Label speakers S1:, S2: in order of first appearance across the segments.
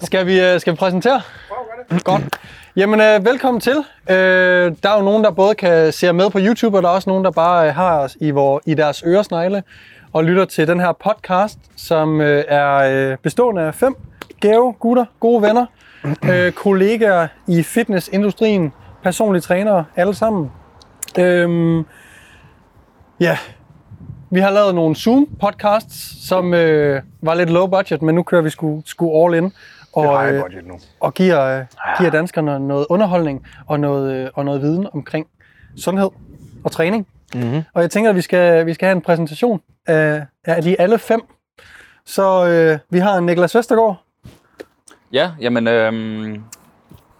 S1: Skal vi, øh, skal vi præsentere? Godt. Jamen, øh, velkommen til. Øh, der er jo nogen, der både kan se med på YouTube, og der er også nogen, der bare øh, har os i, vor, i deres øresnegle og lytter til den her podcast, som øh, er øh, bestående af fem gave gutter, gode venner, øh, kollegaer i fitnessindustrien, personlige trænere, alle sammen. Øhm, ja, vi har lavet nogle Zoom-podcasts, som øh, var lidt low budget, men nu kører vi sgu, sgu all in. Og,
S2: Det har jeg
S1: øh,
S2: budget nu.
S1: og giver, øh, giver danskerne noget underholdning og noget, øh, og noget viden omkring sundhed og træning. Mm-hmm. Og jeg tænker, at vi skal, vi skal have en præsentation af, af de alle fem. Så øh, vi har en Niklas Vestergaard.
S3: Ja, jamen, øhm,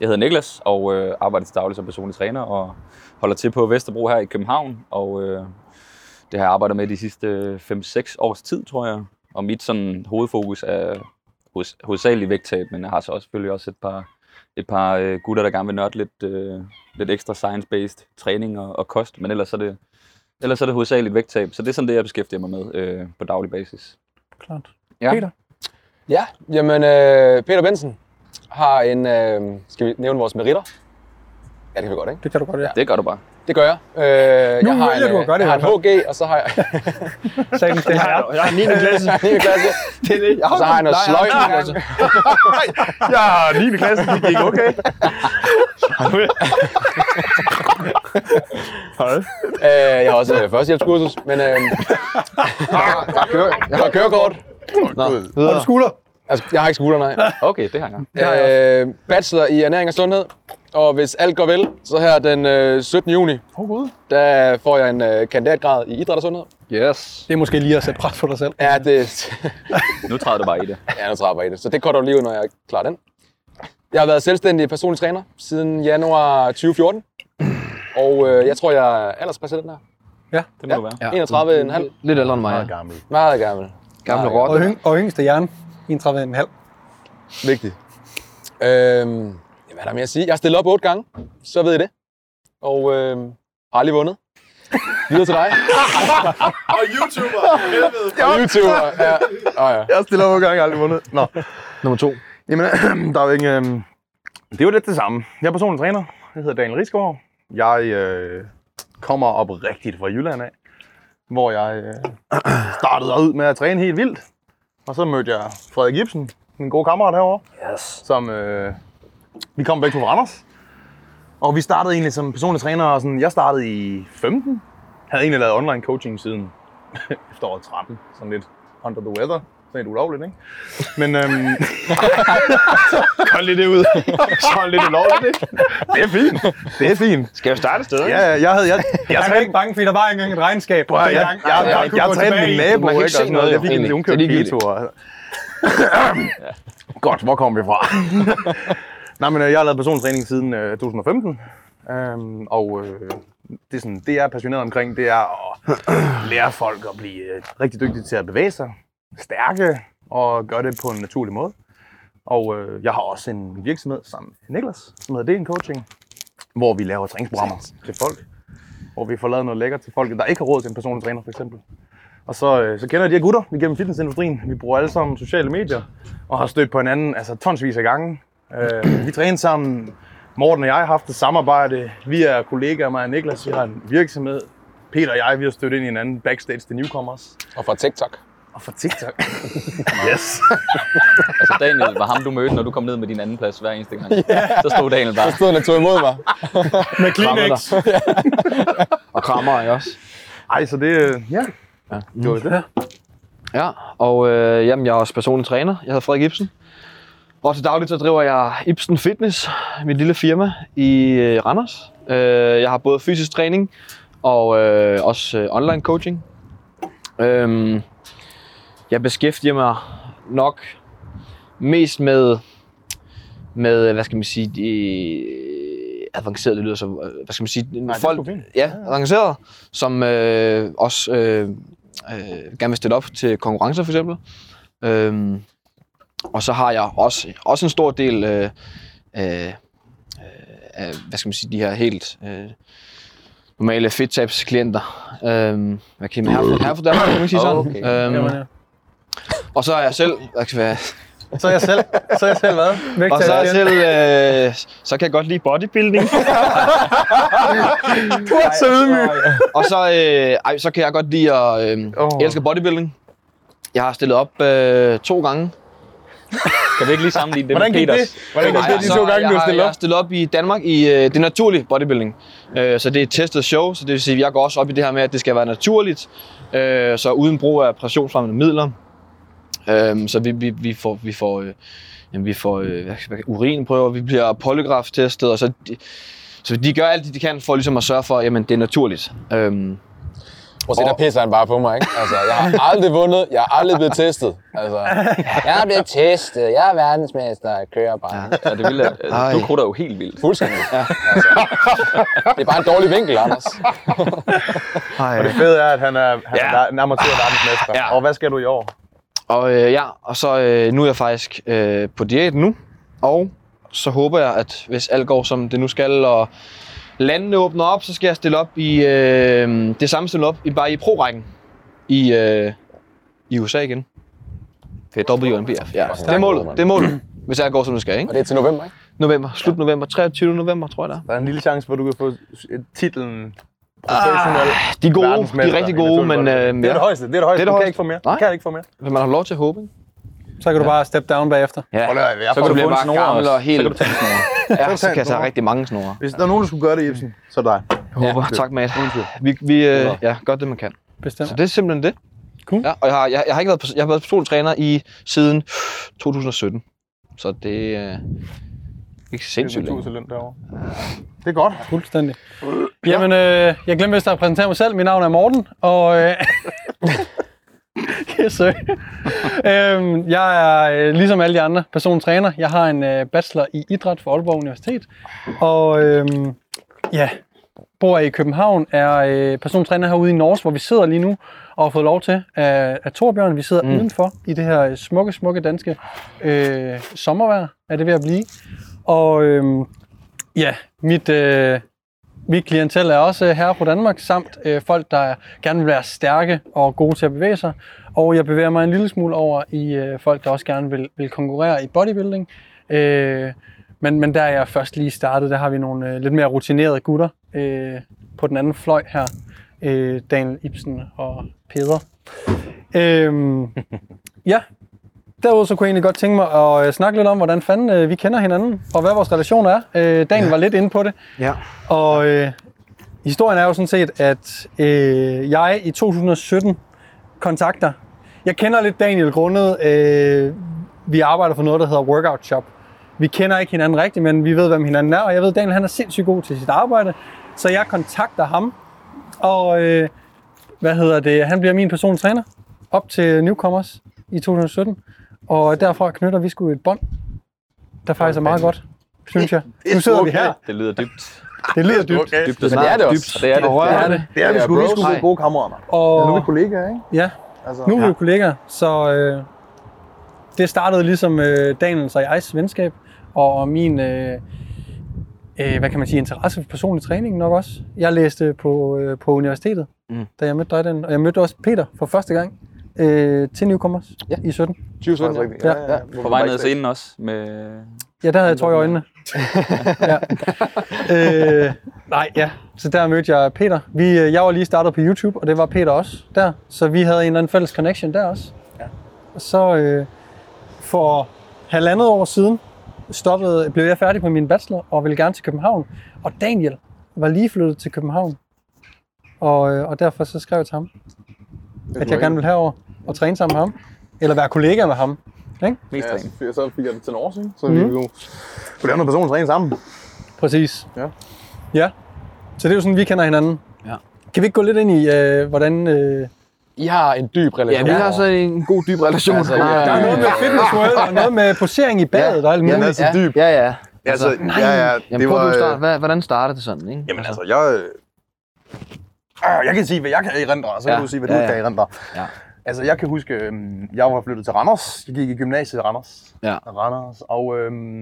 S3: jeg hedder Niklas og øh, arbejder til daglig som personlig træner og holder til på Vesterbro her i København. Og øh, det har jeg arbejdet med de sidste øh, 5-6 års tid, tror jeg. Og mit sådan, hovedfokus er hos, hovedsageligt vægttab, men jeg har så også, selvfølgelig også et par, et par øh, gutter, der gerne vil nørde lidt, øh, lidt ekstra science-based træning og, og kost. Men ellers er det, ellers er det hovedsageligt vægttab, så det er sådan det, jeg beskæftiger mig med øh, på daglig basis.
S1: Klart.
S3: Ja.
S1: Peter.
S4: Ja, jamen øh, Peter Bensen har en... Øh, skal vi nævne vores meritter? Ja, det kan vi godt, ikke?
S1: Det kan du godt, ja.
S3: Det gør du bare.
S4: Det gør jeg. Øh, jeg har
S1: vælger
S4: en,
S1: du at
S4: øh,
S1: gøre det
S4: jeg
S1: i
S4: har en HG, og så har jeg...
S1: Sagen, det har jeg.
S2: Jeg er 9. klasse.
S4: jeg har 9. klasse,
S2: Det er det. Jeg
S4: og så har jeg noget
S2: Nej,
S4: sløjt.
S2: nej, nej. Jeg er 9. klasse. Det gik okay. Hej.
S4: Øh, jeg har også øh, førstehjælpskursus, men øh, jeg har, jeg har, køre, jeg har kørekort. Nå,
S1: Har du
S4: videre.
S1: skulder?
S4: Altså, jeg har ikke skulder, nej.
S3: Okay, det har jeg.
S4: Øh, bachelor i ernæring og sundhed. Og hvis alt går vel, så her den øh, 17. juni,
S1: Åh, gud.
S4: der får jeg en øh, kandidatgrad i idræt og sundhed.
S3: Yes.
S1: Det er måske lige at sætte pres på dig selv.
S4: Ja, det,
S3: Nu træder du bare i det.
S4: Ja, nu trapper jeg i det. Så det korter du lige ud, når jeg klarer den. Jeg har været selvstændig personlig træner siden januar 2014. Og øh, jeg tror, jeg er alderspræsident her.
S3: Det må ja. du være.
S4: Ja. 31 en halv.
S5: Lidt ældre end mig.
S2: Jeg er gammel.
S4: Meget gammel.
S5: Gamle
S4: Nej,
S1: Og,
S5: rotte.
S1: yng, og yngste hjerne. 31,5.
S4: Vigtigt. Øhm, ja, hvad er der mere at sige? Jeg har stillet op otte gange, så ved I det. Og øhm, har aldrig vundet. Videre til dig.
S2: Og YouTuber. Helvede.
S4: Og YouTuber. Ja. Oh, ja.
S2: Jeg stiller op en gang, jeg har aldrig vundet. Nå.
S5: Nummer to.
S2: Jamen, der er jo ikke... øhm, Det er jo lidt det samme. Jeg er personlig træner. Jeg hedder Daniel Risgaard. Jeg øh, kommer op rigtigt fra Jylland af, hvor jeg øh, startede ud med at træne helt vildt. Og så mødte jeg Frederik Ibsen, min gode kammerat herovre, yes. som øh, vi kom begge to fra Randers. Og vi startede egentlig som personlig træner, og sådan, jeg startede i 15. Havde egentlig lavet online coaching siden efteråret 13, sådan lidt under the weather. Sådan lidt ulovligt, ikke? Men øhm, Hold lige det ud. Så hold lidt ulovligt, ikke? Det er fint. Det er fint. Skal jeg starte et sted? Ja, ja, jeg havde... Jeg, jeg,
S1: Jeg er
S2: trænede,
S1: ikke bange, fordi der var ikke engang et regnskab.
S2: prøv, at- jeg, jeg, jeg,
S1: kunne
S2: jeg, jeg,
S1: gå
S2: trænede
S1: tilbage
S2: min
S1: i.
S2: nabo,
S5: Man kan ikke
S2: ikke? Og
S5: se
S2: sådan noget.
S5: noget,
S2: Jeg
S5: jo,
S2: fik en
S5: egentlig.
S2: unkøbt
S5: Det er ligegyldigt.
S2: keto. og- Godt, hvor kom vi fra? Nej, men øh, jeg har lavet personstræning siden øh, 2015. Øhm, og øh, det, er sådan, det, jeg er passioneret omkring, det er at lære folk at blive øh, rigtig dygtige til at bevæge sig, stærke og gøre det på en naturlig måde. Og øh, jeg har også en virksomhed sammen med Niklas, som hedder DN Coaching, hvor vi laver træningsprogrammer til folk. Hvor vi får lavet noget lækkert til folk, der ikke har råd til en personlig træner, for eksempel. Og så, øh, så kender jeg de her gutter igennem fitnessindustrien. Vi bruger alle sammen sociale medier og har stødt på hinanden altså, tonsvis af gange. Øh, vi træner sammen. Morten og jeg har haft et samarbejde. Vi er kollegaer, mig og Niklas, vi har en virksomhed. Peter og jeg, vi har stødt ind i hinanden backstage til Newcomers.
S4: Og fra TikTok.
S2: Og for TikTok. yes.
S3: Altså Daniel var ham, du mødte, når du kom ned med din anden plads hver eneste gang. Så stod Daniel bare.
S4: Stod han og tog imod mig.
S1: Med Kleenex.
S5: Og krammer jeg også.
S2: Ej, så det... øh, Ja. Ja, det var det.
S5: Ja, og øh, jamen, jeg er også personlig træner. Jeg hedder Frederik Ibsen. Og til dagligt så driver jeg Ibsen Fitness, mit lille firma i øh, Randers. Øh, jeg har både fysisk træning og øh, også øh, online coaching. Øhm, jeg beskæftiger mig nok mest med, med hvad skal man sige, de avancerede, det lyder så, hvad skal man sige,
S2: det er sgu fint.
S5: ja, avancerede, som øh, også øh, øh, gerne vil stille op til konkurrencer for eksempel. Øhm, og så har jeg også, også en stor del øh, øh, øh, af, hvad skal man sige, de her helt øh, normale fittabs klienter. Øhm, hvad
S1: Mm.
S5: kan man herfor, herfor derfor, kan man ikke sige sådan.
S3: Okay.
S5: Øhm,
S1: Jamen, ja.
S5: og så er jeg selv, hvad- hvad-
S1: Så er jeg selv, så er jeg selv hvad? Væk
S5: Og så, er jeg selv, øh, så kan jeg godt lide bodybuilding.
S1: Du er så ydmyg.
S5: Og så, øh, ej, så kan jeg godt lide at... Øh,
S2: Åh.
S5: jeg elsker bodybuilding. Jeg har stillet op øh, to gange.
S3: Kan vi ikke lige sammenligne det
S2: Hvordan
S3: med
S2: gik
S3: Peters?
S2: det? Hvordan gik
S5: Nej,
S2: det de
S5: så
S2: to gange,
S5: jeg,
S2: du har stillet
S5: Jeg har
S2: op?
S5: stillet op i Danmark i øh, det naturlige bodybuilding. Øh, så det er et testet show, så det vil sige, at jeg går også op i det her med, at det skal være naturligt. Øh, så uden brug af pressionsfremmende midler. Øh, så vi, vi, vi får... Vi får øh, Jamen, vi får øh, hvad- hvad- urinprøver, vi bliver polygraf-testet, og så de, så de gør alt det, de kan for ligesom at sørge for, at jamen, det er naturligt. Øhm,
S4: Prøv at se, der pisser han bare på mig, ikke? Altså, jeg har aldrig vundet, jeg har aldrig blevet testet. Altså, jeg er blevet testet, jeg er verdensmester, jeg kører bare. Ja.
S3: Ja, det ville, jeg-
S5: Ej.
S3: du krutter jo helt vildt.
S4: Fuldstændig. Ja. Altså, det er bare en dårlig vinkel, Anders.
S5: ej,
S2: Og det fede er, at han er, han er en amatør verdensmester.
S5: Ja.
S2: Og hvad skal du i år?
S5: Og øh, ja, og så øh, nu er jeg faktisk øh, på diæt nu, og så håber jeg, at hvis alt går som det nu skal, og landene åbner op, så skal jeg stille op i øh, det samme stille op, i, bare i pro-rækken i, øh, i USA igen. Fedt. WNBF, ja. Det er målet, det er målet, hvis alt går som det skal, ikke?
S4: Og det er til november, ikke?
S5: November, slut november, 23. november, tror jeg det er.
S2: Der er en lille chance for, at du kan få titlen professionel. Ah,
S5: De er gode, de er rigtig gode, men øh,
S2: det er
S5: ja,
S2: det højeste. Det er
S5: Det
S2: det højeste.
S5: er det
S2: du kan
S5: højeste.
S2: ikke få mere.
S5: Nej.
S2: Du kan ikke få mere.
S5: man har lov til at håbe, ikke?
S1: Så kan du bare step down bagefter.
S5: Ja.
S2: Prøv at høre, jeg
S5: Så
S2: får
S5: kan du
S2: det
S5: blive
S2: på en
S5: bare
S2: snor
S5: gammel
S2: også.
S5: og helt...
S3: Så kan du tage en snore.
S5: Ja, så kan
S2: tage
S5: jeg
S2: en
S5: tage
S2: snore.
S5: rigtig mange snore.
S2: Hvis der er nogen, der skulle gøre det, Ibsen, så er det dig.
S5: Håber. Ja. Tak, Matt. Vi, vi øh, ja, gør det, man kan.
S1: Bestemt.
S5: Så det er simpelthen det.
S1: Cool.
S5: Ja, og jeg har, jeg, jeg har ikke været, pers- jeg har været persontræner i siden 2017. Så det øh, ikke sindssygt længe.
S2: Det er derovre. Det er godt.
S1: Fuldstændig. Jamen, øh, jeg glemte vist at præsentere mig selv. Mit navn er Morten, og... Øh, yes, sir. øhm, jeg er, øh, ligesom alle de andre, persontræner. Jeg har en øh, bachelor i idræt fra Aalborg Universitet. Og øhm, ja, bor i København, er øh, persontræner herude i Norge, hvor vi sidder lige nu og har fået lov til af, af Torbjørn. Vi sidder mm. udenfor i det her øh, smukke, smukke danske øh, sommervejr, er det ved at blive. Og øhm, ja, mit, øh, mit klientel er også øh, herre på Danmark, samt øh, folk, der gerne vil være stærke og gode til at bevæge sig. Og jeg bevæger mig en lille smule over i øh, folk, der også gerne vil, vil konkurrere i bodybuilding. Øh, men, men der er jeg først lige startet, der har vi nogle øh, lidt mere rutinerede gutter øh, på den anden fløj her. Øh, Daniel Ibsen og Peder. Øh, ja, Derudover så kunne jeg egentlig godt tænke mig at øh, snakke lidt om, hvordan fanden øh, vi kender hinanden, og hvad vores relation er. Øh, Daniel ja. var lidt inde på det.
S5: Ja.
S1: Og øh, historien er jo sådan set, at øh, jeg i 2017 kontakter. Jeg kender lidt Daniel grundet, øh, vi arbejder for noget, der hedder Workout Shop. Vi kender ikke hinanden rigtigt, men vi ved, hvem hinanden er, og jeg ved, Daniel han er sindssygt god til sit arbejde. Så jeg kontakter ham, og øh, hvad hedder det, han bliver min personlige træner op til Newcomers i 2017. Og derfra knytter vi sgu et bånd, der faktisk er meget godt, synes jeg. Nu sidder vi her.
S3: Det lyder dybt.
S1: Det lyder dybt.
S2: Okay.
S3: dybt og
S4: Men det er det
S3: dybt.
S4: også.
S3: Og Det er det.
S1: Det er det.
S2: Det er, vi
S4: Ja,
S2: skulle, vi
S4: bros.
S2: skulle blive gode kammerater. mand. Nu er vi
S1: Og
S2: kollegaer, ikke?
S1: ja,
S2: Altså,
S1: nu er vi jo kollegaer, så øh, det startede ligesom øh, Daniels og jegs venskab, og, og min, øh, øh, hvad kan man sige, interesse for personlig træning nok også. Jeg læste på, øh, på universitetet, mm.
S5: Mm.
S1: da jeg mødte dig den, og jeg mødte også Peter for første gang øh, til Newcomers ja. i 17.
S4: 2017. ja.
S2: rigtigt. Ja, ja,
S3: På vej ned til scenen også. Med...
S1: Ja, der havde jeg tår i øjnene. ja. øh, nej, ja. Så der mødte jeg Peter. Vi, øh, jeg var lige startet på YouTube, og det var Peter også der. Så vi havde en eller anden fælles connection der også. Ja. Og så øh, for halvandet år siden stoppede, blev jeg færdig på min bachelor og ville gerne til København. Og Daniel var lige flyttet til København. Og, øh, og derfor så skrev jeg til ham, at jeg gerne ville herover og træne sammen med ham. Eller være kollega med ham.
S3: Mest
S2: Ja,
S3: træning.
S2: så fik- så fik jeg det til Norge, ikke? Så vi jo kunne lave noget personligt træning sammen.
S1: Præcis.
S2: Ja.
S1: Ja. Så det er jo sådan, vi kender hinanden.
S5: Ja.
S1: Kan vi ikke gå lidt ind i, øh, hvordan... Øh,
S4: I har en dyb relation.
S5: en god, dyb relation.
S4: Altså,
S5: Nej,
S4: ja.
S1: der er noget med fitness world, og noget med posering i badet ja. og alt muligt.
S5: ja,
S2: er så dyb.
S5: Ja, ja. Altså,
S2: Altså, ja, ja,
S5: Jamen,
S2: det
S5: prøv at
S2: var,
S5: du
S2: øh,
S5: start. Hvad, hvordan starter det sådan, ikke?
S2: Jamen altså, jeg... Øh, ah, jeg kan sige, hvad jeg kan erindre, og så kan
S5: Ja.
S2: du sige, hvad du
S5: Ja,
S2: ja,
S5: ja.
S2: kan erindre.
S5: Ja.
S2: Altså, jeg kan huske, øhm, jeg var flyttet til Randers. Jeg gik i gymnasiet i Randers.
S5: Ja.
S2: Randers. Og øhm,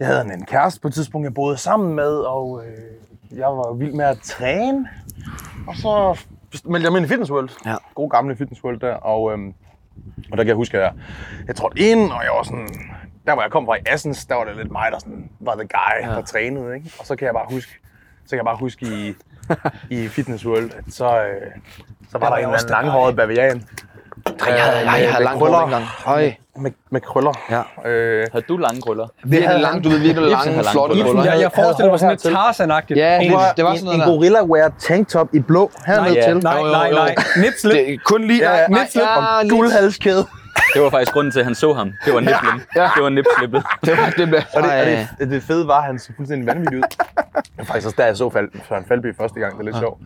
S2: jeg havde en kæreste på et tidspunkt, jeg boede sammen med, og øh, jeg var vild med at træne. Og så meldte jeg mig ind i Fitness World.
S5: Ja.
S2: God gamle Fitness World der. Og øhm, Og der kan jeg huske, at jeg, jeg trådte ind, og jeg var sådan... Der, hvor jeg kom fra i Assens, der var det lidt mig, der sådan, var the guy, ja. der trænede. Ikke? Og så kan jeg bare huske, så kan jeg bare huske i, i Fitness World, at så, øh, så var der, en eller anden langhåret bavian
S5: Dreng, jeg havde, jeg havde
S2: med
S5: langt hår
S2: krøller.
S5: dengang. Høj.
S2: med, med krøller.
S5: Ja.
S2: Øh,
S3: Havde du lange krøller?
S5: Virkelig langt, du ved virkelig lange,
S3: havde langt
S5: flotte
S3: hår.
S5: krøller.
S1: Jeg, jeg forestiller mig sådan lidt Tarzan-agtigt.
S5: Ja,
S1: Egentlig.
S5: det, det var sådan noget der.
S2: gorilla wear tanktop i blå hernede
S3: ja.
S1: Nej, nej, nej. Nips lidt.
S5: Det er kun lige
S2: Ja, ja.
S5: nej,
S2: Lidt slip
S5: ja,
S2: om
S5: lidt.
S2: guldhalskæde.
S3: Det var faktisk grunden til, at han så ham. Det var niplen. Ja. Det var nipslippet.
S5: Det var det blev.
S2: Og det, og
S5: Ej.
S2: det, det fede var, at han så fuldstændig vanvittig ud. Det var faktisk også der, jeg så Fal Søren Falby første gang. Det er lidt ja. sjovt.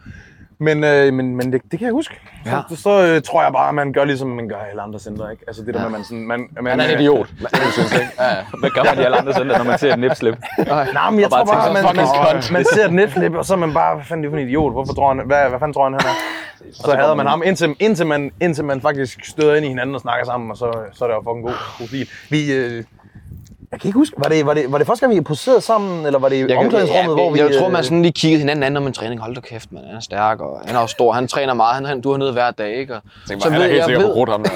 S2: Men, øh, men, men det, det kan jeg huske. Ja. Så, så øh, tror jeg bare, at man gør ligesom man gør i alle andre centre. Ikke? Altså det der ja. med, at man sådan... Man, man,
S4: Han er en idiot. Det synes jeg ikke. Ja, ja.
S3: Hvad gør man i alle andre søndage, når man ser et nipslip?
S2: Nej, men jeg
S3: Og bare
S2: tror bare,
S3: tænker,
S2: at man,
S3: fucking
S2: man,
S3: skønt.
S2: man ser et netflip, og så er man bare, hvad fanden er det for en idiot? Hvorfor tror han, hvad, hvad fanden tror han, han er? Så hader man ham, indtil, indtil, man, indtil man faktisk støder ind i hinanden og snakker sammen, og så, så er det jo fucking god, god stil. Vi, øh, jeg kan ikke huske, var det, var det, var det første gang, vi poserede sammen, eller var det i
S5: Jeg, kan,
S2: omklædningsrummet, hvor vi...
S5: jeg, jeg tror,
S2: øh,
S5: man sådan lige kiggede hinanden an, når man træning. Hold da kæft, man. Han er stærk, og han er også stor. Han træner meget. Han, han du er nede hver dag, ikke? Og,
S4: Tænk bare, han er helt sikkert på rut, ham der.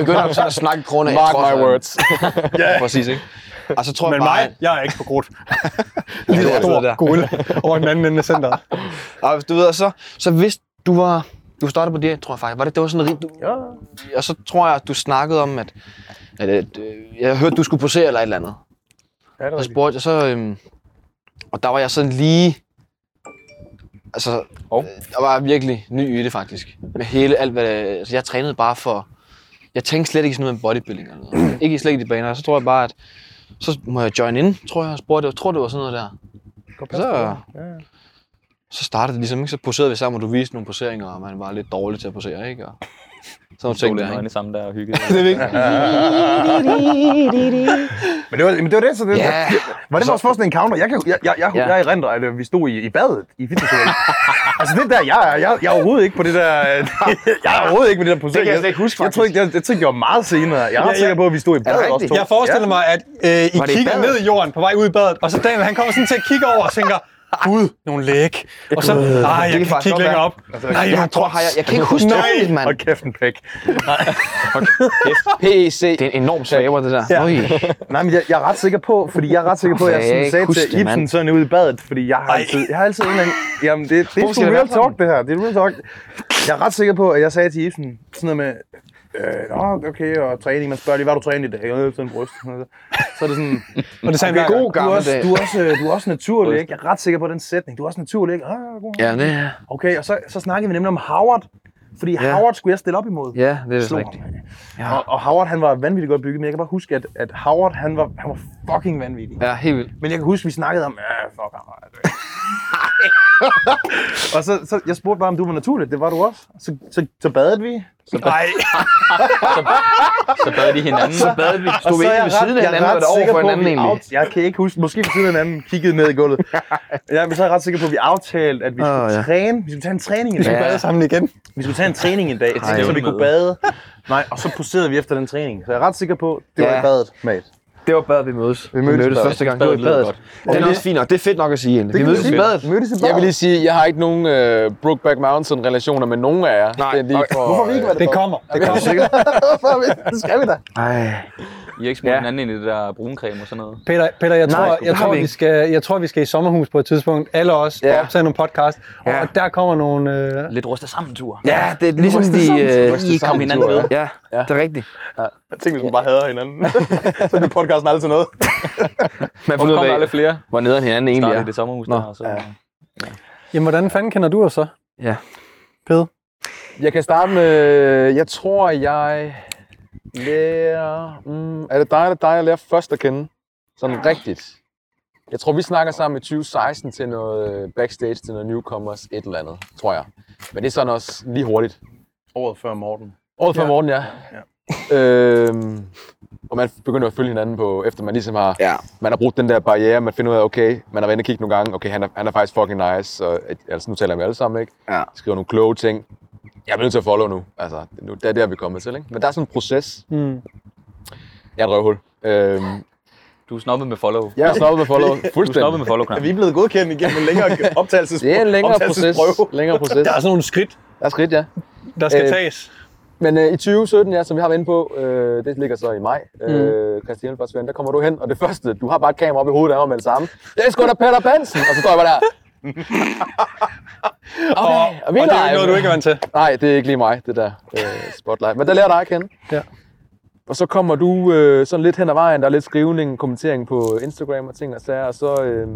S5: begynder sådan at snakke i kroner.
S4: Mark my words.
S5: Ja. Præcis, ikke? Og så tror
S1: Men
S5: jeg bare,
S1: mig, jeg er ikke på grut. Lige
S5: det er
S1: en
S5: altid der.
S1: stor gorilla over den anden ende af centret.
S5: Og du ved, og så, så hvis du var... Du startede på det, tror jeg faktisk. Var det, det var sådan rim, du,
S2: Ja,
S5: Og så tror jeg, at du snakkede om, at... at, at øh, jeg hørte, du skulle posere eller et eller andet.
S2: ja, det er
S5: Så
S2: rigtigt.
S5: spurgte jeg så... Øhm, og der var jeg sådan lige... Altså,
S3: Og?
S5: oh. der var jeg virkelig ny i det faktisk. Med hele alt, hvad... Altså, jeg trænede bare for... Jeg tænkte slet ikke sådan noget med bodybuilding eller noget. ikke slet ikke i de baner. Og så tror jeg bare, at... Så må jeg join in, tror jeg, og spurgte. Jeg tror, det var sådan noget der. Så, så startede det ligesom, ikke? Så poserede vi sammen, og du viste nogle poseringer, og man var lidt dårlig til at posere, ikke? Og sådan nogle
S3: Så
S5: ting
S3: lidt
S5: der, ikke?
S3: nøgne sammen der og hyggede.
S5: Det er vigtigt.
S2: Men det var, men det, var det, så det
S5: Ja.
S2: Var det vores første encounter? Jeg, kan, jeg, jeg, jeg,
S5: Ja.
S2: jeg erindrer, at øh, vi stod i, i badet i fitnesscenteret. altså det der, jeg, er- jeg, jeg er overhovedet ikke på det der... øh, jeg er overhovedet ikke på det der projekt.
S5: kan jeg slet ikke huske,
S2: Jeg, jeg, tror ikke, jeg, jeg tænkte, jeg var meget senere. Jeg er ret
S1: ja.
S2: sikker på, at vi stod i badet også
S5: rigtigt?
S2: to.
S1: Jeg forestiller mig, at øh, I
S5: Var det i
S1: kigger
S5: badet?
S1: ned i jorden på vej ud i badet, og så Daniel han kommer sådan til at kigge over og tænker, Gud, nogle læg. Og så, nej, jeg
S5: kan
S1: kan ikke
S5: faktisk
S1: kigge
S5: godt
S1: længere
S5: være. Altså,
S1: op. Nej,
S5: Jeg tror, har jeg, jeg kan ikke huske det
S1: Nej.
S5: ordentligt,
S2: Ja.
S5: mand.
S2: Og kæft en pæk.
S4: PEC.
S5: Det er en enorm svæver, det der. Oj.
S2: Nej, men jeg, jeg, er ret sikker på, fordi jeg er ret sikker på, at jeg
S5: Kan jeg
S2: sådan
S5: ikke
S2: sagde
S5: huske
S2: til
S5: det, mand?
S2: Ibsen sådan ude i badet, fordi jeg har
S1: Ej.
S2: altid, jeg har altid en eller anden... Jamen, det, det er sgu
S5: skal det være
S2: real
S5: sådan?
S2: talk, det her. Det er real talk. Jeg er ret sikker på, at jeg sagde til Ibsen sådan noget med... Øh, nå, okay, og træning. Man spørger lige, hvad har du trænet i dag? Jeg har løbet en bryst. Så er det sådan...
S1: Og det sagde han hver gang.
S2: Okay,
S5: god
S2: du er,
S5: gammel
S2: også,
S5: dag.
S2: du, er også, øh, du er også naturlig, ikke? Jeg er ret sikker på den sætning. Du er også naturlig, ikke? Ah, god.
S5: Ja, det er...
S2: Okay, og så, så snakkede vi nemlig om Howard. Fordi ja. Howard skulle jeg stille op imod.
S5: Ja, det er vist
S2: Slog
S5: rigtigt.
S2: ham. Ja. Og, og, Howard, han var vanvittigt godt bygget, men jeg kan bare huske, at, at Howard, han var, han var fucking vanvittig.
S5: Ja, helt vildt.
S2: Men jeg kan huske, vi snakkede om, ja, fuck Howard. og så, så, jeg spurgte bare, om du var naturlig. Det var du også. Så, så, så badede vi.
S1: Nej,
S3: Så bad de hinanden.
S5: Så bad vi. Stod vi
S2: er
S5: ikke
S2: jeg
S5: ved siden af
S2: jeg er
S5: hinanden,
S2: ret
S5: var det over
S2: sikker
S5: for
S2: på,
S5: hinanden
S2: vi
S5: egentlig?
S2: Out, jeg kan ikke huske, måske ved siden af hinanden kiggede ned i gulvet. ja, men så er jeg ret sikker på, at vi aftalte, at vi
S5: Åh,
S2: skulle
S5: ja.
S2: træne. Vi skulle tage en træning en
S1: vi
S2: dag.
S1: bader sammen igen.
S2: Vi skulle tage en træning en dag, så vi
S3: stævnemøde.
S2: kunne bade. Nej, og så poserede vi efter den træning. Så jeg er ret sikker på, det var
S5: Ja.
S2: i badet, mate.
S5: Det var badet, vi mødes. Vi mødtes,
S2: badet.
S5: første gang.
S3: Badet
S5: Det var i
S3: lyder
S5: badet.
S3: godt.
S5: Det er også fint nok. Det er fedt nok at sige egentlig. Vi
S2: kan
S5: mødtes
S2: man
S5: i
S2: sige.
S5: badet.
S2: Mødtes i badet.
S4: Jeg vil lige sige, jeg har ikke nogen øh, Brookback Mountain-relationer med nogen af jer.
S5: Nej.
S4: Det er lige for,
S2: Hvorfor har vi ikke været
S1: Det kommer. Det kommer.
S5: sikkert.
S2: Hvorfor har vi Det skal vi da.
S5: Ej.
S3: I har ikke smurt hinanden ind i det der bruncreme og sådan noget.
S1: Peter, Peter jeg,
S5: Nej,
S1: tror,
S5: sgu,
S1: jeg,
S5: det har
S1: tror,
S5: vi
S1: vi
S5: ikke.
S1: skal, jeg tror, vi skal i sommerhus på et tidspunkt. Alle os
S5: Ja.
S1: ja. optage nogle podcast. Og
S5: Ja.
S1: der kommer nogle... Øh,
S3: Lidt rustet sammen tur.
S5: Ja, det er ligesom de... øh,
S3: I kom hinanden ved.
S5: Ja, det er rigtigt.
S2: Jeg tænkte, vi skulle bare hader hinanden. så blev podcasten aldrig til noget.
S5: Man
S3: Hvorfor kom der aldrig flere?
S5: hvor nederen hinanden egentlig
S3: Startede
S5: er.
S3: i det sommerhus
S5: Nå.
S3: der, og så...
S1: jamen, hvordan fanden kender du os så?
S5: Ja.
S1: Pede.
S4: Jeg kan starte med, jeg tror, jeg lærer... Mm, er det dig eller dig, jeg lærer først at kende? Sådan rigtigt. Jeg tror, vi snakker sammen i 2016 til noget øh, backstage, til noget newcomers, et eller andet, tror jeg. Men det er sådan også lige hurtigt.
S2: Året før Morten.
S4: Året før ja. morgen, ja. ja. Øhm, og man begynder at følge hinanden på, efter man ligesom har,
S5: Ja.
S4: man har brugt den der barriere, man finder ud af, okay, man har været inde og kigge nogle gange, okay, han er, han er faktisk fucking nice, og at- altså nu taler jeg med alle sammen, ikke?
S5: Ja.
S4: Skriver nogle kloge ting. Jeg er nødt til at follow nu. Altså, nu, det er der, vi er kommet til, ikke? Men der er sådan en proces.
S1: Mm.
S4: Jeg er et røvhul. Øhm,
S3: Du er snobbet med follow.
S4: jeg har stoppet med follow
S3: Du er snobbet
S4: fuldstændig.
S3: med follow -knap.
S2: Vi er blevet godkendt igennem en længere optagelses
S4: Det er en længere proces.
S2: optagelsesprøve.
S4: Længere proces.
S1: Der er sådan nogle skridt,
S4: Der er skridt, ja.
S1: der skal
S4: Øh,
S1: tages.
S4: Men øh, i 2017, ja, som vi har været inde på, øh, det ligger så i maj, øh, Christian Hjelmfarts der kommer du hen, og det første, du har bare et kamera op i hovedet af mig med det samme. Det er sgu da Peter Pansen! Og så står jeg bare der. okay, og, vi
S1: Og det er jo
S4: live.
S1: ikke noget, du ikke er vant til.
S4: Nej, det er ikke lige mig, det der øh, spotlight. Men der lærer jeg dig at kende.
S1: Ja.
S4: Og så kommer du øh, sådan lidt hen ad vejen, der er lidt skrivning, kommentering på Instagram og ting og sager, og så... Øh,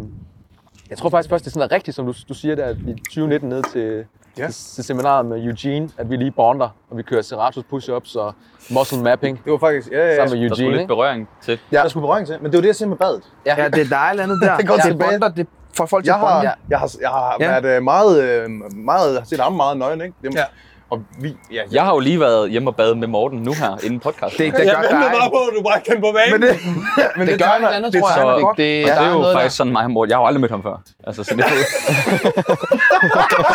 S4: jeg tror faktisk først, det er sådan er rigtigt, som du, du siger der, at i 2019 ned til,
S2: Ja.
S4: ja. til, til seminaret med Eugene, at vi lige bonder, og vi kører Serratos push-ups og muscle mapping
S2: Det var faktisk... Ja, ja, ja.
S4: sammen med
S3: Der skulle
S4: Eugene.
S3: lidt
S4: ikke?
S3: berøring til.
S2: Ja. Der skulle berøring til, men det var det, jeg siger med badet.
S5: Ja, det er dejligt andet der.
S2: Det går
S5: Ja,
S2: tilbage.
S5: bonder, det får folk til
S2: Jeg
S5: at
S2: har,
S5: bonde.
S2: jeg har, jeg har
S5: Ja.
S2: ja. været øh, meget, øh, meget, har set ham meget nøgen, ikke? Det,
S1: Ja.
S2: Og vi, ja, ja.
S3: Jeg har jo lige været hjemme og bade med Morten nu her, inden podcasten.
S5: Det, det
S1: Jeg
S5: gør
S1: venter
S5: dig.
S1: bare på, at du bare kan på banen.
S2: Men det, men det,
S5: Det gør et andet, tror jeg.
S3: så-
S5: Det, det,
S3: Og
S5: der
S3: det er jo
S5: noget der.
S3: faktisk sådan mig og Morten. Jeg har jo aldrig mødt ham før. Altså, så, det,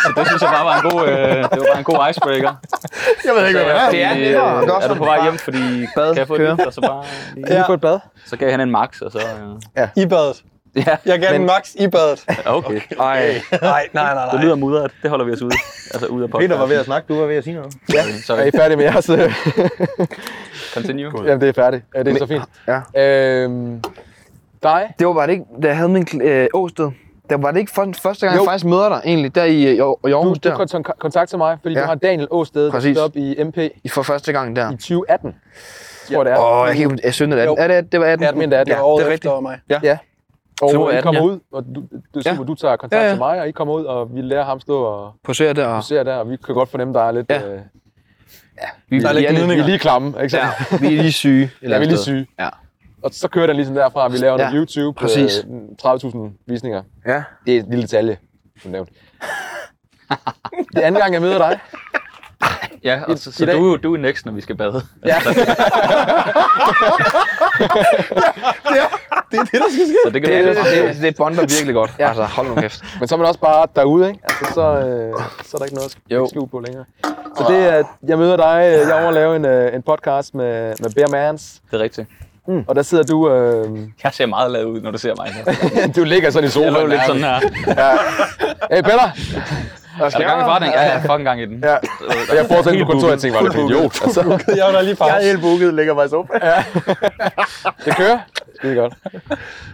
S3: så det synes jeg bare var en god, øh, det var bare en god icebreaker.
S2: jeg ved ikke, hvad det er.
S5: Det er
S3: Fordi,
S5: nemmere.
S3: øh,
S5: Godt,
S3: Er du
S5: som
S3: på
S5: du
S3: vej
S5: har.
S3: hjem, fordi
S5: Bad,
S3: kan jeg få
S5: køre.
S3: det, og så bare...
S4: Kan vi få et bad?
S3: Så gav han en max, og så... Øh,
S1: I badet.
S3: ja,
S1: Jeg gav den
S5: Men-
S1: max i badet.
S3: okay.
S5: Ej,
S1: Nej, nej, nej,
S3: Det
S1: nej.
S3: lyder mudret. Det holder vi os ude. Altså ude af podcasten.
S2: Peter var ved at snakke, du var ved at sige noget.
S3: Ja,
S4: Er I
S3: sorry.
S4: færdige med jeres? øh,
S3: Continue.
S4: Jamen, det er færdigt. Ja, det er så fint.
S5: Ja.
S4: Øhm, dig?
S5: det var bare det ikke, da jeg havde min kl- øh, åsted. Der var det ikke for, første gang,
S4: Jo.
S5: jeg faktisk møder dig egentlig, der i, øh, i, Aar- i
S4: Du,
S5: Aarhus
S4: du
S5: der.
S4: kon- kontakter mig, fordi ja.
S5: Ja.
S4: du har Daniel Åsted, der
S5: Præcis.
S4: stod op i MP
S5: I for første gang der.
S4: i 2018, tror jeg det er.
S5: Åh, oh, jeg kan ikke, jeg synes, det er
S1: Jo.
S5: 18. Er det, det var 18.
S4: Jeg mener, det er 18.
S1: Det
S5: Ja,
S1: var
S5: det
S1: året
S5: er
S1: efter
S5: rigtigt.
S1: mig.
S4: Og
S5: Så nu er
S4: I
S5: den,
S4: kommer
S5: ja.
S4: ud, og du, du,
S5: Ja.
S4: ja. du tager kontakt
S5: Ja, ja.
S4: til mig, og I kommer ud, og vi lærer ham stå og
S5: Poserer der. og-
S4: ser der, og vi kan godt fornemme, der er lidt...
S5: Ja.
S4: Ja. Øh,
S5: Vi,
S1: Der er lidt
S5: vi
S4: vi er
S1: gnidninger.
S4: lige klamme, ikke
S5: Ja,
S4: sant?
S5: vi er lige syge. et
S4: Ja,
S5: eller
S4: vi er
S5: andet
S4: lige
S5: sted.
S4: syge.
S5: Ja.
S4: Og så kører den ligesom derfra, vi laver
S5: Ja,
S4: ja. noget YouTube på
S5: præcis.
S4: øh, 30.000 visninger.
S5: Ja.
S4: Det er et lille detalje, som nævnt. det er anden gang, jeg møder dig.
S3: Ja, og så, så
S4: i dag-
S3: du, er jo- du er next, når vi skal bade.
S4: Ja.
S2: Det er det, der skal ske.
S3: Så det kan
S5: Det,
S3: du
S5: det, det, det bonder virkelig godt. Ja. Altså, hold nu kæft.
S4: Men så er man også bare derude, ikke? Altså, så, øh, så er der ikke noget at sk- skjule på længere. Så det er, jeg møder dig, øh, jeg overlaver en, øh, en podcast med, med Bear Mans,
S3: Det er rigtigt.
S4: og der sidder du... Øh,
S3: Jeg ser meget lavet ud, når du ser mig. Jeg
S4: du ligger sådan i sofaen.
S3: lå lidt
S4: nærmest.
S3: sådan her.
S4: Hey Peter!
S3: Er der gang i forretning? Ja, jeg er fucking gang i den.
S4: Ja. Og jeg fortsatte
S3: Helt
S4: på kontoret, jeg tænkte, var det en idiot. Altså,
S1: Jeg var der lige
S2: Jeg er
S1: pause.
S2: helt booket, ligger bare i sofaen.
S4: det kører. Skide godt.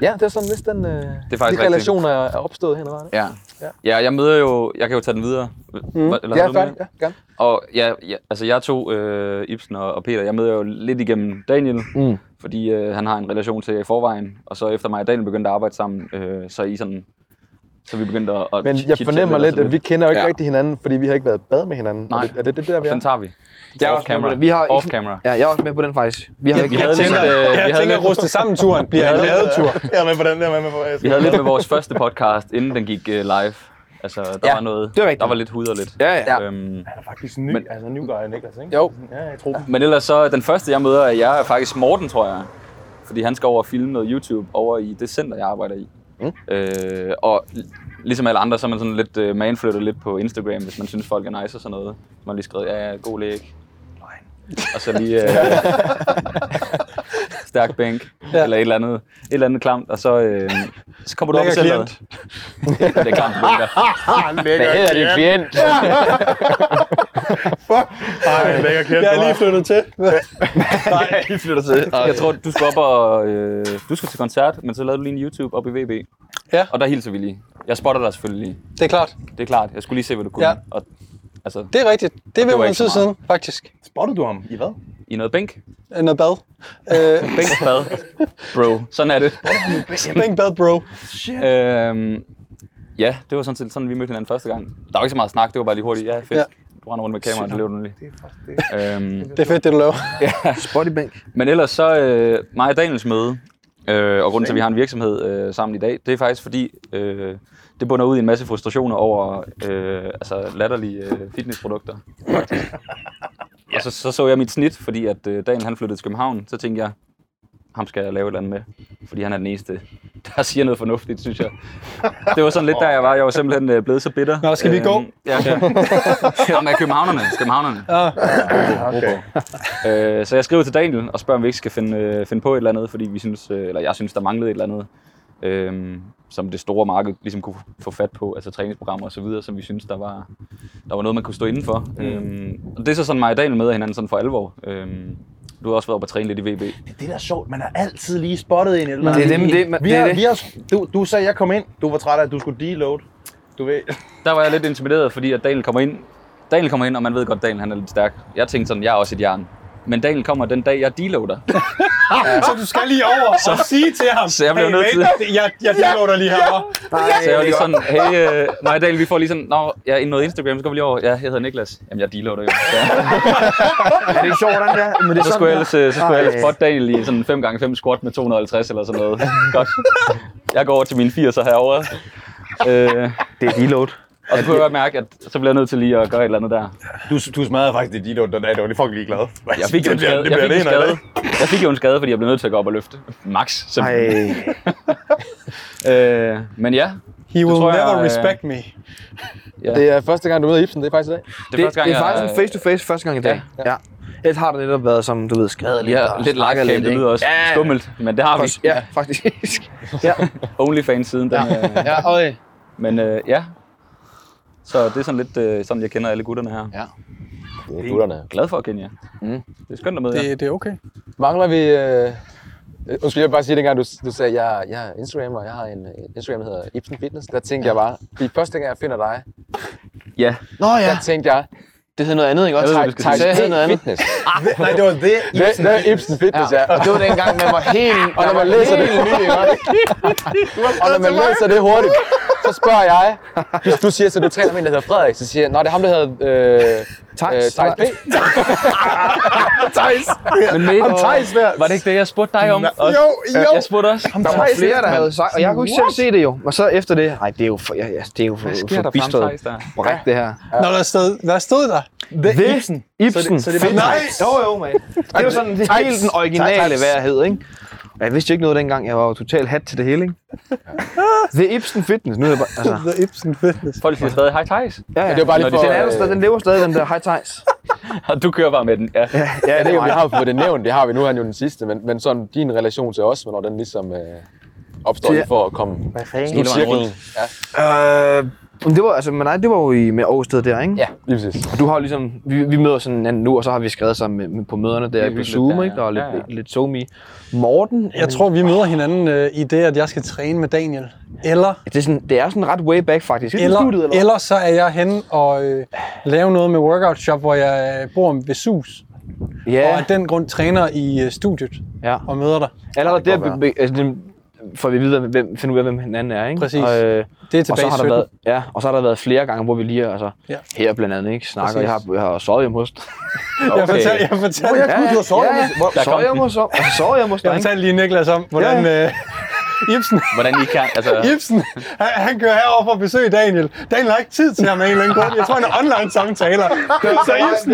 S4: Ja, det er sådan lidt den, øh,
S3: Det er faktisk
S4: de relationer er er opstået hen ad vejen. ikke?
S3: Ja. ja, jeg møder jo... Jeg kan jo tage den videre. Mm. Eller,
S4: Ja,
S3: har du
S4: færdig.
S3: med?
S4: Ja, gerne.
S3: Og ja, ja, altså jeg tog øh, Ibsen og, og Peter. Jeg møder jo lidt igennem Daniel,
S4: Mm.
S3: fordi øh, han har en relation til jer i forvejen. Og så efter mig og Daniel begyndte at arbejde sammen, øh, så er I sådan... Så er vi begyndte at... at
S4: Men jeg
S3: chit-chatte
S4: fornemmer
S3: og
S4: lidt,
S3: sådan
S4: at vi kender jo ikke
S3: Ja.
S4: rigtig hinanden, fordi vi har ikke været i bad med hinanden.
S3: Nej.
S4: Er det- Er det det der, vi er?
S3: Den tager vi.
S5: Jeg er
S3: Off
S5: også med på
S3: camera.
S5: det. Vi har ikke-
S3: Off camera.
S5: Ja, jeg er også med på den faktisk. Vi har ikke
S3: vi havde
S1: Jeg
S3: lidt,
S1: tænker,
S3: øh, vi
S1: jeg
S3: havde
S1: tænker at
S3: lidt,
S1: ruste sammen turen bliver en ladetur.
S2: Jeg er med på den, jeg er med på den.
S3: vi havde lidt med vores første podcast, inden den gik øh, live. Altså, der
S5: Ja,
S3: var noget,
S5: det er rigtigt.
S3: der var lidt hud og lidt.
S5: Ja, ja.
S3: Øhm,
S2: Han er faktisk ny,
S3: Men-
S2: altså new guy, Niklas, ikke?
S4: Jo.
S2: Ja, jeg tror.
S3: men ellers så, den første jeg møder af jer er faktisk Morten, tror jeg. Fordi han skal over og filme noget YouTube over i det center, jeg arbejder i. Mm. Øh, og l- ligesom alle andre, så er man sådan lidt øh, manflyttet lidt på Instagram, hvis man synes folk er nice og sådan noget. Så man har lige skrevet, ja, ja, god læg. Og så lige øh, stærk bænk, ja. eller et eller andet, et eller andet klamt. Og så, øh, så kommer du op i
S1: Lækker
S3: centeret. Det er klamt, det der.
S2: Han lækker
S4: klient?
S2: Han lækker klient.
S1: Jeg er lige flyttet til.
S5: Vi flytter til.
S3: Jeg tror, du skal op og... Øh, du skal til koncert, men så lavede du lige en YouTube op i VB.
S1: Ja.
S3: Og der hilser vi lige. Jeg spotter dig selvfølgelig lige.
S1: Det er klart.
S3: Det er klart. Jeg skulle lige se, hvad du kunne.
S1: Ja.
S3: Og, altså,
S1: Det er rigtigt. Det er ved
S3: Det var
S1: en
S3: ikke så
S1: tid siden,
S3: meget.
S1: faktisk.
S2: Spotter du ham i hvad?
S3: i noget bænk.
S1: Øh, Noget bad. Øh,
S3: Bænkbad. Bro. Sådan er det.
S1: bænk bad, bro.
S3: øhm, ja, det var sådan set sådan, vi mødte hinanden første gang. Der var ikke så meget snak, det var bare lige hurtigt. Ja, fedt.
S1: Ja.
S3: Ja. Du render rundt med kameraet, det lever du lige.
S2: Det er faktisk det.
S3: Øhm,
S1: Det er fedt, det du laver.
S5: Spottybænk.
S3: men ellers så øh, mig og Daniels møde, øh, og grunden til, at vi har en virksomhed øh, sammen i dag, det er faktisk fordi, øh, det bunder ud i en masse frustrationer over øh, altså latterlige øh, fitnessprodukter. ja. Og så, så så jeg mit snit, fordi at øh, Daniel han flyttede til København, så tænkte jeg, ham skal jeg lave et eller andet med, fordi han er den eneste, der siger noget fornuftigt, synes jeg. Det var sådan lidt der, jeg var. Jeg var simpelthen øh, blevet så bitter.
S1: Nå, skal vi
S3: Øhm,
S1: gå?
S3: Ja, ja. med københavnerne. Københavnerne.
S1: Ah.
S2: Okay.
S3: Øh, så jeg skriver til Daniel og spørger, om vi ikke skal finde, øh, finde på et eller andet, fordi vi synes, øh, eller jeg synes, der manglede et eller andet. øhm, som det store marked ligesom kunne få fat på, altså træningsprogrammer og så videre, som vi synes, der var, der var noget, man kunne stå indenfor. Mm. Øhm, og det er så sådan mig og Daniel med hinanden sådan for alvor. Øhm, du har også været oppe og træne lidt i VB.
S2: Det er det, der er sjovt. Man har altid lige spottet en eller
S5: Det er
S2: anden.
S5: dem, det- man-
S2: vi
S5: det er
S2: har,
S5: det.
S2: vi har, du, du sagde, jeg kom ind. Du var træt af, at du skulle deload. Du ved.
S3: Der var jeg lidt intimideret, fordi at Daniel kommer ind. Daniel kommer ind, og man ved godt, at Daniel han er lidt stærk. Jeg tænkte sådan, jeg er også et jern. Men Daniel kommer den dag, jeg deloader.
S1: Så du skal lige over så. og sige til ham,
S3: Så jeg blev
S1: hey,
S3: nødt
S1: mate, jeg, jeg downloader lige herovre.
S3: Så jeg var lige sådan, hey, øh, mig og Daniel, vi får lige sådan, nå, jeg er inde noget Instagram, så går vi lige over. Ja, jeg hedder Niklas. Jamen, jeg deloader jo. Ja.
S5: Er det ikke sjovt, hvordan det er? Men det er
S3: Så skulle jeg ellers, øh, så skulle jeg ellers
S5: Ej.
S3: spotte Daniel i sådan 5x5 squat med 250 eller sådan noget. Godt. Jeg går over til mine 80'er herovre. Øh,
S5: Det er deload.
S3: og så kunne jeg godt mærke, at så bliver jeg nødt til lige at gøre et eller andet der.
S2: Du, du smadrede faktisk det deload den dag. Det var lige fucking ligeglad.
S3: Jeg fik jo en skade, jeg fik en skade. Jeg fik jo en skade, fordi jeg blev nødt til at gå op og løfte. Max,
S5: Ej,
S3: simpelthen. Øh, men ja,
S1: He will
S3: tror jeg,
S1: never
S3: øh,
S1: respect me.
S4: Det er første gang, du møder Ibsen, det er faktisk i dag.
S3: det er
S5: det,
S3: første gang,
S5: det er faktisk
S3: jeg, øh,
S5: en face-to-face første gang i dag. Ja. Ellers har det netop været som, du ved, skadet lidt.
S3: Ja,
S5: og
S3: lidt
S5: snakket
S3: lakkercam, det
S5: ikke?
S3: lyder også
S5: Ja.
S3: skummelt, men det har vi.
S5: Faktisk- Ja, faktisk.
S3: Onlyfans siden. Den, øh,
S4: Ja, øj.
S3: men øh, ja, så det er sådan lidt øh, sådan, jeg kender alle gutterne her.
S6: Det er gutterne.
S3: Glad for at kende jer. Mm. Det er skønt at møde jer.
S1: Det, det er okay.
S4: Mangler vi... Øh... Undskyld, jeg vil bare sige, dengang du, du sagde, jeg, jeg er Instagram, og jeg har en øh, Instagram, der hedder Ibsen Fitness. Der tænkte jeg bare, fordi første gang, jeg finder dig,
S3: Ja,
S5: Nå ja,
S4: der tænkte jeg,
S5: det hedder noget andet, ikke også?
S3: Jeg ved,
S4: Thijs
S3: hvad
S5: Nej,
S3: du skal
S5: Thijs, det
S4: Thijs
S5: hedder noget andet.
S4: Fitness.
S2: Nej, det var det.
S4: Det, det er Ibsen Fitness, ja.
S5: Og det var dengang, man var helt...
S4: Og når man læser det, og når man læser det hurtigt, så spørger jeg, hvis du siger, så du træner med en, der hedder Frederik, så siger jeg, nej, det er ham, der hedder øh, øh,
S5: Thijs.
S4: Thijs P.
S3: men med,
S2: Thijs der.
S3: var det ikke det, jeg spurgte dig om? Og,
S2: Jo, jo.
S3: Jeg spurgte også.
S5: Der var flere, der
S3: mand.
S5: havde sagt, og jeg kunne ikke selv se det jo. Og så efter det, nej, det er jo for, ja, ja, det er jo for,
S3: Hvad sker
S5: for
S3: der frem,
S5: bistret
S3: Thijs, der?
S5: bræk, det her.
S1: Nå, der stod, der stod der.
S5: The Ibsen. Ibsen.
S1: så det er bare-
S5: Nej. Jo, jo, man. Det er jo sådan det er helt den originale værhed, ikke? Og jeg vidste jo ikke noget dengang. Jeg var jo totalt hat til det hele, ikke? The Ibsen Fitness. Nu er jeg bare, altså,
S1: The Ibsen Fitness.
S3: Folk siger stadig, hej Thijs.
S5: ja, ja.
S4: det var bare lige
S5: Nå,
S4: for,
S5: Den, er jo
S4: øh,
S5: stadig, den lever stadig, den der high ties.
S3: Og du kører bare med den. Ja.
S4: Ja, det er jo, vi har jo fået det nævnt, det har vi nu, er han jo den sidste, men, men sådan din relation til os, hvornår den ligesom øh, opstår lige for at komme
S5: Hvad
S4: slut cirklen. Ja,
S5: Øh, men det var, altså, men nej, det var jo i, med Aarhussted der, ikke?
S4: ja, lige præcis.
S5: Du har jo ligesom, vi, vi møder sådan hinanden nu, og så har vi skrevet sammen med, med, på møderne der på
S3: hyggeligt
S5: Zoom,
S3: der,
S5: ikke? Der er lidt,
S3: ja. Ja, ja.
S5: lidt, lidt SoMe. Morten,
S1: Jeg tror, vi møder hinanden øh, i det, at jeg skal træne med Daniel. Eller,
S5: det er, sådan, det er sådan ret way back, faktisk. Helt i
S1: eller,
S5: studiet,
S1: eller, eller så er jeg henne og øh, laver noget med workout shop, hvor jeg øh, bor ved SUS.
S5: hvad?
S1: Og
S5: Ja,
S1: af den grund træner i øh, studiet
S5: ja.
S1: og møder dig.
S5: Allerede
S6: det
S5: der
S6: kan godt
S5: be, be, altså, dem- får vi at vide, hvem, finder ud af, hvem hinanden er, ikke?
S1: Præcis.
S5: Og, øh,
S1: Det er tilbage
S5: og så
S1: i
S5: har der
S1: 17.
S5: været, ja, og så har der været flere gange, hvor vi lige altså,
S1: Ja.
S5: ja. her blandt andet, ikke? Snakker, jeg har, jeg har sovet hjemme hos dig.
S1: Jeg fortalte, jeg fortalte, jeg
S5: Ja, ja, ja, ja.
S3: Der kom
S5: Sovet hjemme hos dig. Sovet hjemme hos dig, ikke?
S1: fortalte lige Niklas om, hvordan øh, Ibsen,
S3: Hvordan I kan, altså...
S1: Ibsen han, han kører herover for at besøge Daniel. Daniel har ikke tid til ham af en eller anden grund. Jeg tror, han er online samtaler. Så Ibsen,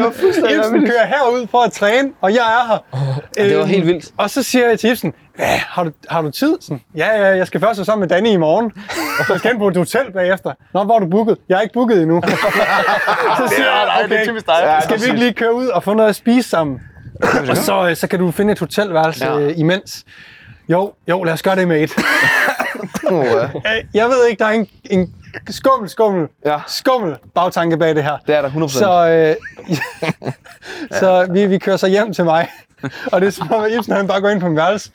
S1: Ibsen kører herud for at træne, og jeg er her.
S5: Det var
S1: Øhm,
S5: helt vildt.
S1: Og så siger jeg til Ibsen, "Hva, har du, har du tid? Sådan, ja, ja, jeg skal først være sammen med Danny i morgen. Og så skal han på et hotel bagefter. Nå, hvor er du booket? Jeg er ikke booket endnu. så siger jeg, okay,
S2: Ja,
S1: skal vi ikke lige køre ud og få noget at spise sammen? og så, øh, så kan du finde et hotelværelse
S5: Ja.
S1: ja. imens. Jo, jo, lad os gøre det, mate.
S5: Åh, ja.
S1: Øh, Jeg ved ikke, der er en, en skummel, skummel,
S5: Ja.
S1: skummel bagtanke bag det her.
S5: Det er der 100%.
S1: Så, øh, så vi, vi kører så hjem til mig. Og det er som om, at Ibsen han bare går ind på min værelse.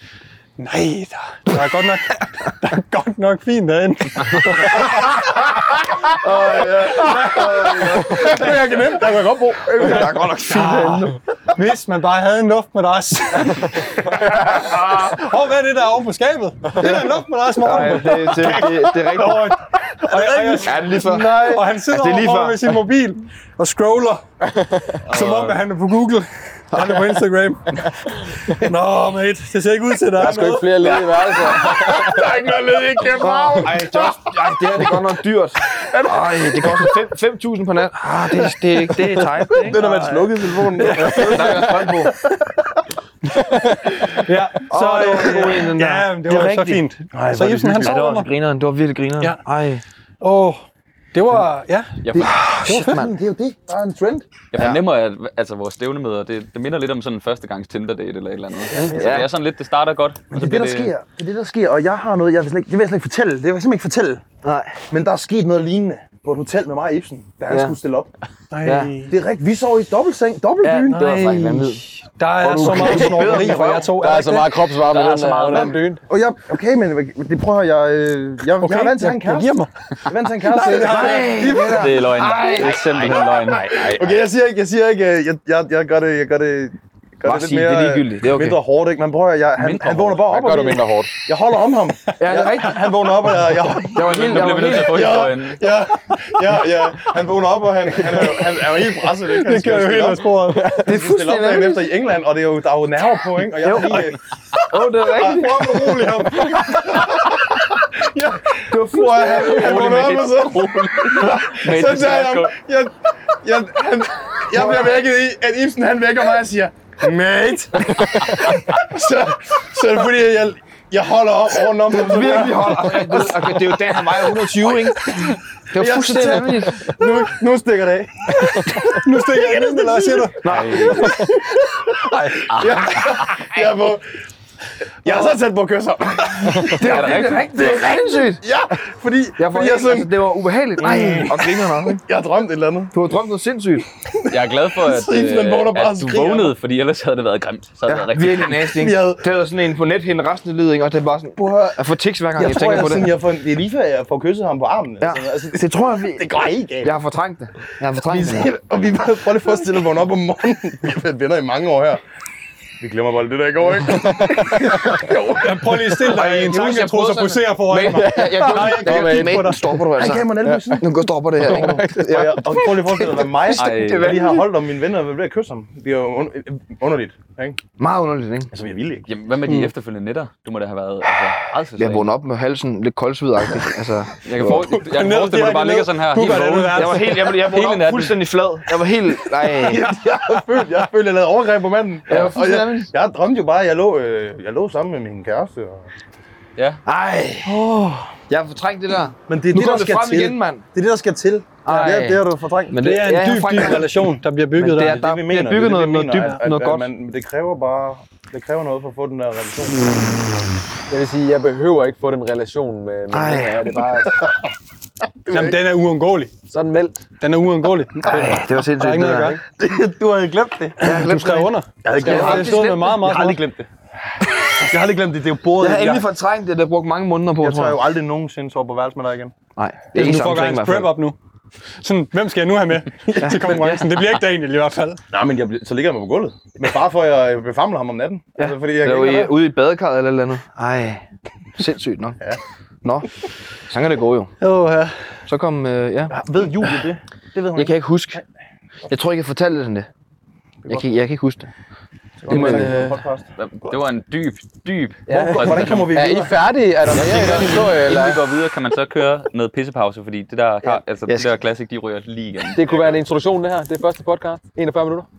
S1: Nej, der, der, er godt nok, der er godt nok fint derinde. Åh, ja. Det er jeg kan nemt. Der kan jeg godt bruge.
S2: Der er godt nok fint.
S1: Hvis man bare havde en luftmadras. Åh, hvad er det der er oven på skabet? Det er da en luftmadras, morgen.
S5: Ja, det, det, det, det, er rigtigt.
S1: Og, og, jeg,
S5: Ja, det er lige før.
S1: Nej. Altså, Og han sidder
S5: Ja, det er lige
S1: overfor
S5: før.
S1: med sin mobil og scroller, som om at han er på Google. Han er på Instagram. Nå, mate, det ser ikke ud til, at der
S4: Der
S1: er
S4: er sgu ikke
S1: noget.
S4: flere ledige værelser.
S5: Ej, det, er også, ej, det her det er godt nok dyrt. Ej, det koster fem- 5.000 på nat. Ah, det, det, er ikke- det er tight. Det, er ikke?
S2: Det er, når man slukkede telefonen.
S5: Der er strøm på.
S1: Ja, så,
S5: Åh, det var en god en,
S1: øh,
S5: den der.
S1: ja, men det
S5: Det er
S1: var så
S5: rigtigt.
S1: fint. Så Ibsen, han
S5: Ja, det
S1: sover
S5: var
S1: mig.
S5: også grineren. Det var virkelig grineren.
S1: Ja.
S5: Ej.
S1: Åh, Det var, ja,
S3: Jeg, for,
S7: Shit, mand. Det er jo det. Der er en trend.
S3: jeg fornemmer, at altså, vores stævnemøder, det, det minder lidt om sådan en førstegangs Tinder-date eller et eller andet. Ja. Det er sådan lidt, det starter godt, og
S7: Det er det, der sker. Det er det, der sker. Og jeg har noget, jeg vil slet ikke, det vil jeg slet ikke fortælle. Det vil jeg simpelthen ikke fortælle.
S8: Nej.
S7: Men der er sket noget lignende på et hotel med mig og Ibsen, da han
S8: Ja.
S7: skulle stille op.
S1: nej,
S8: Ja.
S7: Det er rigtigt. Vi sov i dobbeltseng, dobbeltbyen.
S8: det var faktisk vanvittigt.
S1: der er så meget snorkeri for jer to.
S4: Der er så meget kropsvarme i den øh,
S3: så meget
S4: der.
S1: om dyne.
S7: Og jeg, okay, men det prøver jeg... Øh, jeg, okay. jeg er vant til at have en kæreste.
S1: giver mig.
S7: Jeg er vant til at have en kæreste.
S3: Det, det er løgn. det er simpelthen løgn. Nej, nej.
S2: Okay, jeg siger ikke, jeg siger ikke, øh, jeg, jeg, jeg gør det, jeg gør det, gør
S3: Bare
S2: det lidt
S3: sig,
S2: mere,
S3: det er
S2: øh,
S3: ligegyldigt. Det er okay.
S2: mindre hårdt, ikke? Man prøver, jeg, han,
S3: Mindre
S2: han vågner bare op,
S4: Hvad gør du
S2: og
S4: mindre hårdt?
S2: jeg holder om ham.
S8: Ja, det er rigtigt.
S2: Han vågner op, og jeg, jeg,
S8: Jeg var helt,
S3: Nu
S8: jeg
S3: bliver
S8: var
S3: vi nødt til
S8: helt,
S3: at få historien.
S2: ja, ja, ja, han vågner op, og han, han, er, jo- han er jo helt
S8: Altså,
S2: presset, ikke? Han
S1: Det kører jo helt af sporet.
S2: Det er fuldstændig op dagen efter i England, og det er jo, der er jo nerver på, ikke? Og jeg er lige...
S8: Åh, det er rigtigt.
S2: Fuck, hvor rolig ham.
S8: Det var fuldstændig.
S2: Han vågner op, og så...
S3: Med
S2: Så
S3: et
S2: sagde jeg,
S3: dessertskål.
S2: jeg, jeg, han, jeg bliver vækket i, at Ibsen han vækker mig og siger, mate. så, så er det fordi, jeg, jeg holder op over om ham. sådan her.
S8: Virkelig holdt. Okay, det er jo da han vejer 120, ikke? Det var
S2: Jeg er
S8: fuldstændig
S2: totalt-
S8: vanvittigt.
S2: Nu, nu stikker det af.
S1: Nu stikker jeg ind, eller hvad siger du?
S2: Jeg, jeg, er på, jeg er så tæt på at kysse ham.
S3: Er det rigtigt?
S8: Det er sindssygt.
S2: Ja, fordi,
S8: Jeg
S2: jeg,
S8: får
S2: fordi jeg,
S8: helt,
S2: sådan,
S8: altså, det var ubehageligt. Nej,
S5: Mm.
S8: og griner nok. ikke?
S2: jeg har drømt et eller andet.
S8: Du har drømt noget sindssygt.
S3: Jeg er glad for, at,
S2: Så Ibsen, han
S3: øh,
S2: vågner bare
S3: at
S2: og
S3: du
S2: skriger.
S3: vågnede, fordi ellers havde det været grimt. Så havde det været rigtig
S8: Virkelig nasty, ikke?
S2: Vi havde-
S8: Det var sådan en på net hende resten af livet, ikke? Og det er bare sådan, at få tics hver gang, jeg,
S2: Jeg tror,
S8: tænker
S2: jeg,
S8: på det.
S2: sådan, jeg får, det er lige før, jeg får kysset ham på armen.
S8: Ja.
S2: Altså, altså,
S8: Det tror jeg, vi...
S2: det går helt galt.
S8: Jeg har fortrængt det. Jeg har fortrængt det.
S2: og vi bare prøver lige at forestille at vågne op om morgenen. Vi har været venner i mange år her. Vi glemmer bare lidt det der i går, ikke?
S1: Prøv lige at stille dig i en tanke, jeg tror, så poserer foran mig.
S8: Jeg, jeg, jeg, jeg, jeg, jeg, jeg, jeg, stopper du altså.
S7: Gav mig en elbøsse.
S8: Nu går stopper det her, ikke?
S2: Og, jeg, og prøv lige at forestille dig, at mig,
S3: det er
S2: jeg lige har holdt om mine venner og været ved at kysse ham. Det er jo un- underligt, ikke?
S8: Meget underligt, ikke?
S2: Altså, jeg ville ikke.
S3: Jamen, hvad med de efterfølgende netter? Du må da have været altså,
S8: Jeg
S3: rædselsslag.
S8: vågnede op med halsen lidt koldsvidagtigt. Altså,
S3: Jeg kan for- jeg kan forestille mig, at du bare ligger sådan her, helt vågen.
S8: jeg var helt, jeg, jeg
S3: Hele
S8: vågnede op
S3: natten.
S8: fuldstændig flad. Jeg var helt, nej.
S2: Jeg har følt, jeg, har følt, jeg lavede overgreb på manden.
S8: Jeg var
S2: og jeg,
S8: fuldstændig,
S2: jeg drømte jo bare, at jeg lå, øh, jeg lå sammen med min kæreste. Og...
S8: nej. Jeg har fortrængt det der.
S7: Men det er
S8: Nu
S7: det,
S8: kom
S7: der
S8: det
S7: skal
S8: frem
S7: til.
S8: igen, mand.
S7: Det er det, der skal til.
S8: Ej.
S7: Det, er- det har du fortrængt.
S8: Men
S1: Det er en
S8: jeg
S1: dyb,
S8: fortrængte
S1: dyb relation, der bliver bygget
S8: det
S1: der.
S8: er- der
S2: vi
S8: bliver
S2: mener,
S8: bygget
S2: det er det, vi
S8: noget- noget
S2: mener,
S8: dybt,
S2: at-
S8: noget
S2: at
S8: godt.
S2: Man, det kræver bare... Det kræver noget for at få den der relation.
S4: Jeg vil sige, jeg behøver ikke få den relation med, med
S8: Ej.
S4: det her. Det er bare
S1: Jamen, den er uundgåelig.
S4: sådan meldt.
S1: Den er uundgåelig.
S8: Ej, det var
S1: Der er
S8: sindssygt.
S1: ikke
S8: Det
S1: noget at
S8: der.
S1: gøre.
S7: Du har glemt det.
S1: Du skrev under.
S7: Jeg har ikke
S1: Jeg
S7: glemt
S1: har
S7: det.
S1: aldrig stået med meget, meget
S7: Jeg har aldrig
S1: meget.
S7: glemt det. Jeg har aldrig glemt det. Det er jo bordet.
S8: Jeg har endelig fortrængt det, der brugte mange måneder på,
S2: Jeg
S8: tror
S2: tager
S8: jeg.
S2: jo aldrig nogensinde så på værelse med dig igen.
S8: Nej, det er
S1: Det
S8: ikke
S1: nu får
S8: samme ting i
S1: gangens
S8: hvert
S1: prep
S8: fald.
S1: op nu. Sådan, hvem skal jeg nu have med til konkurrencen? Det bliver ikke Daniel i hvert fald.
S2: Nej, men jeg, blev- så ligger jeg mig på gulvet. Med far for, at jeg befamler ham om natten. Ja. Altså, fordi jeg
S8: Det
S2: kan
S8: var
S2: ikke
S8: i,
S2: lade
S8: ude i badekarret eller et eller andet. Ej, sindssygt nok. Ja. Nå, sådan kan det gå jo.
S1: Åh, ja.
S8: Så kom, øh, ja.
S2: være. Ved Julie det? Det ved hun
S8: Jeg kan ikke huske. Jeg tror ikke, jeg fortalte den det. Jeg kan, jeg kan ikke huske det.
S2: ikke.
S8: men,
S2: Det er
S8: øh,
S2: en podcast.
S3: Det var en dyb, dyb...
S2: Hvordan kommer vi
S4: Er I
S2: videre?
S4: færdige? Er der mere i den historie? Eller?
S3: Inden vi går videre, kan man så køre noget pissepause, fordi det der, har, altså,
S8: Jeg
S3: det der classic, de ryger lige igen.
S4: Det kunne være en introduktion, det her. Det er første podcast. 41 minutter.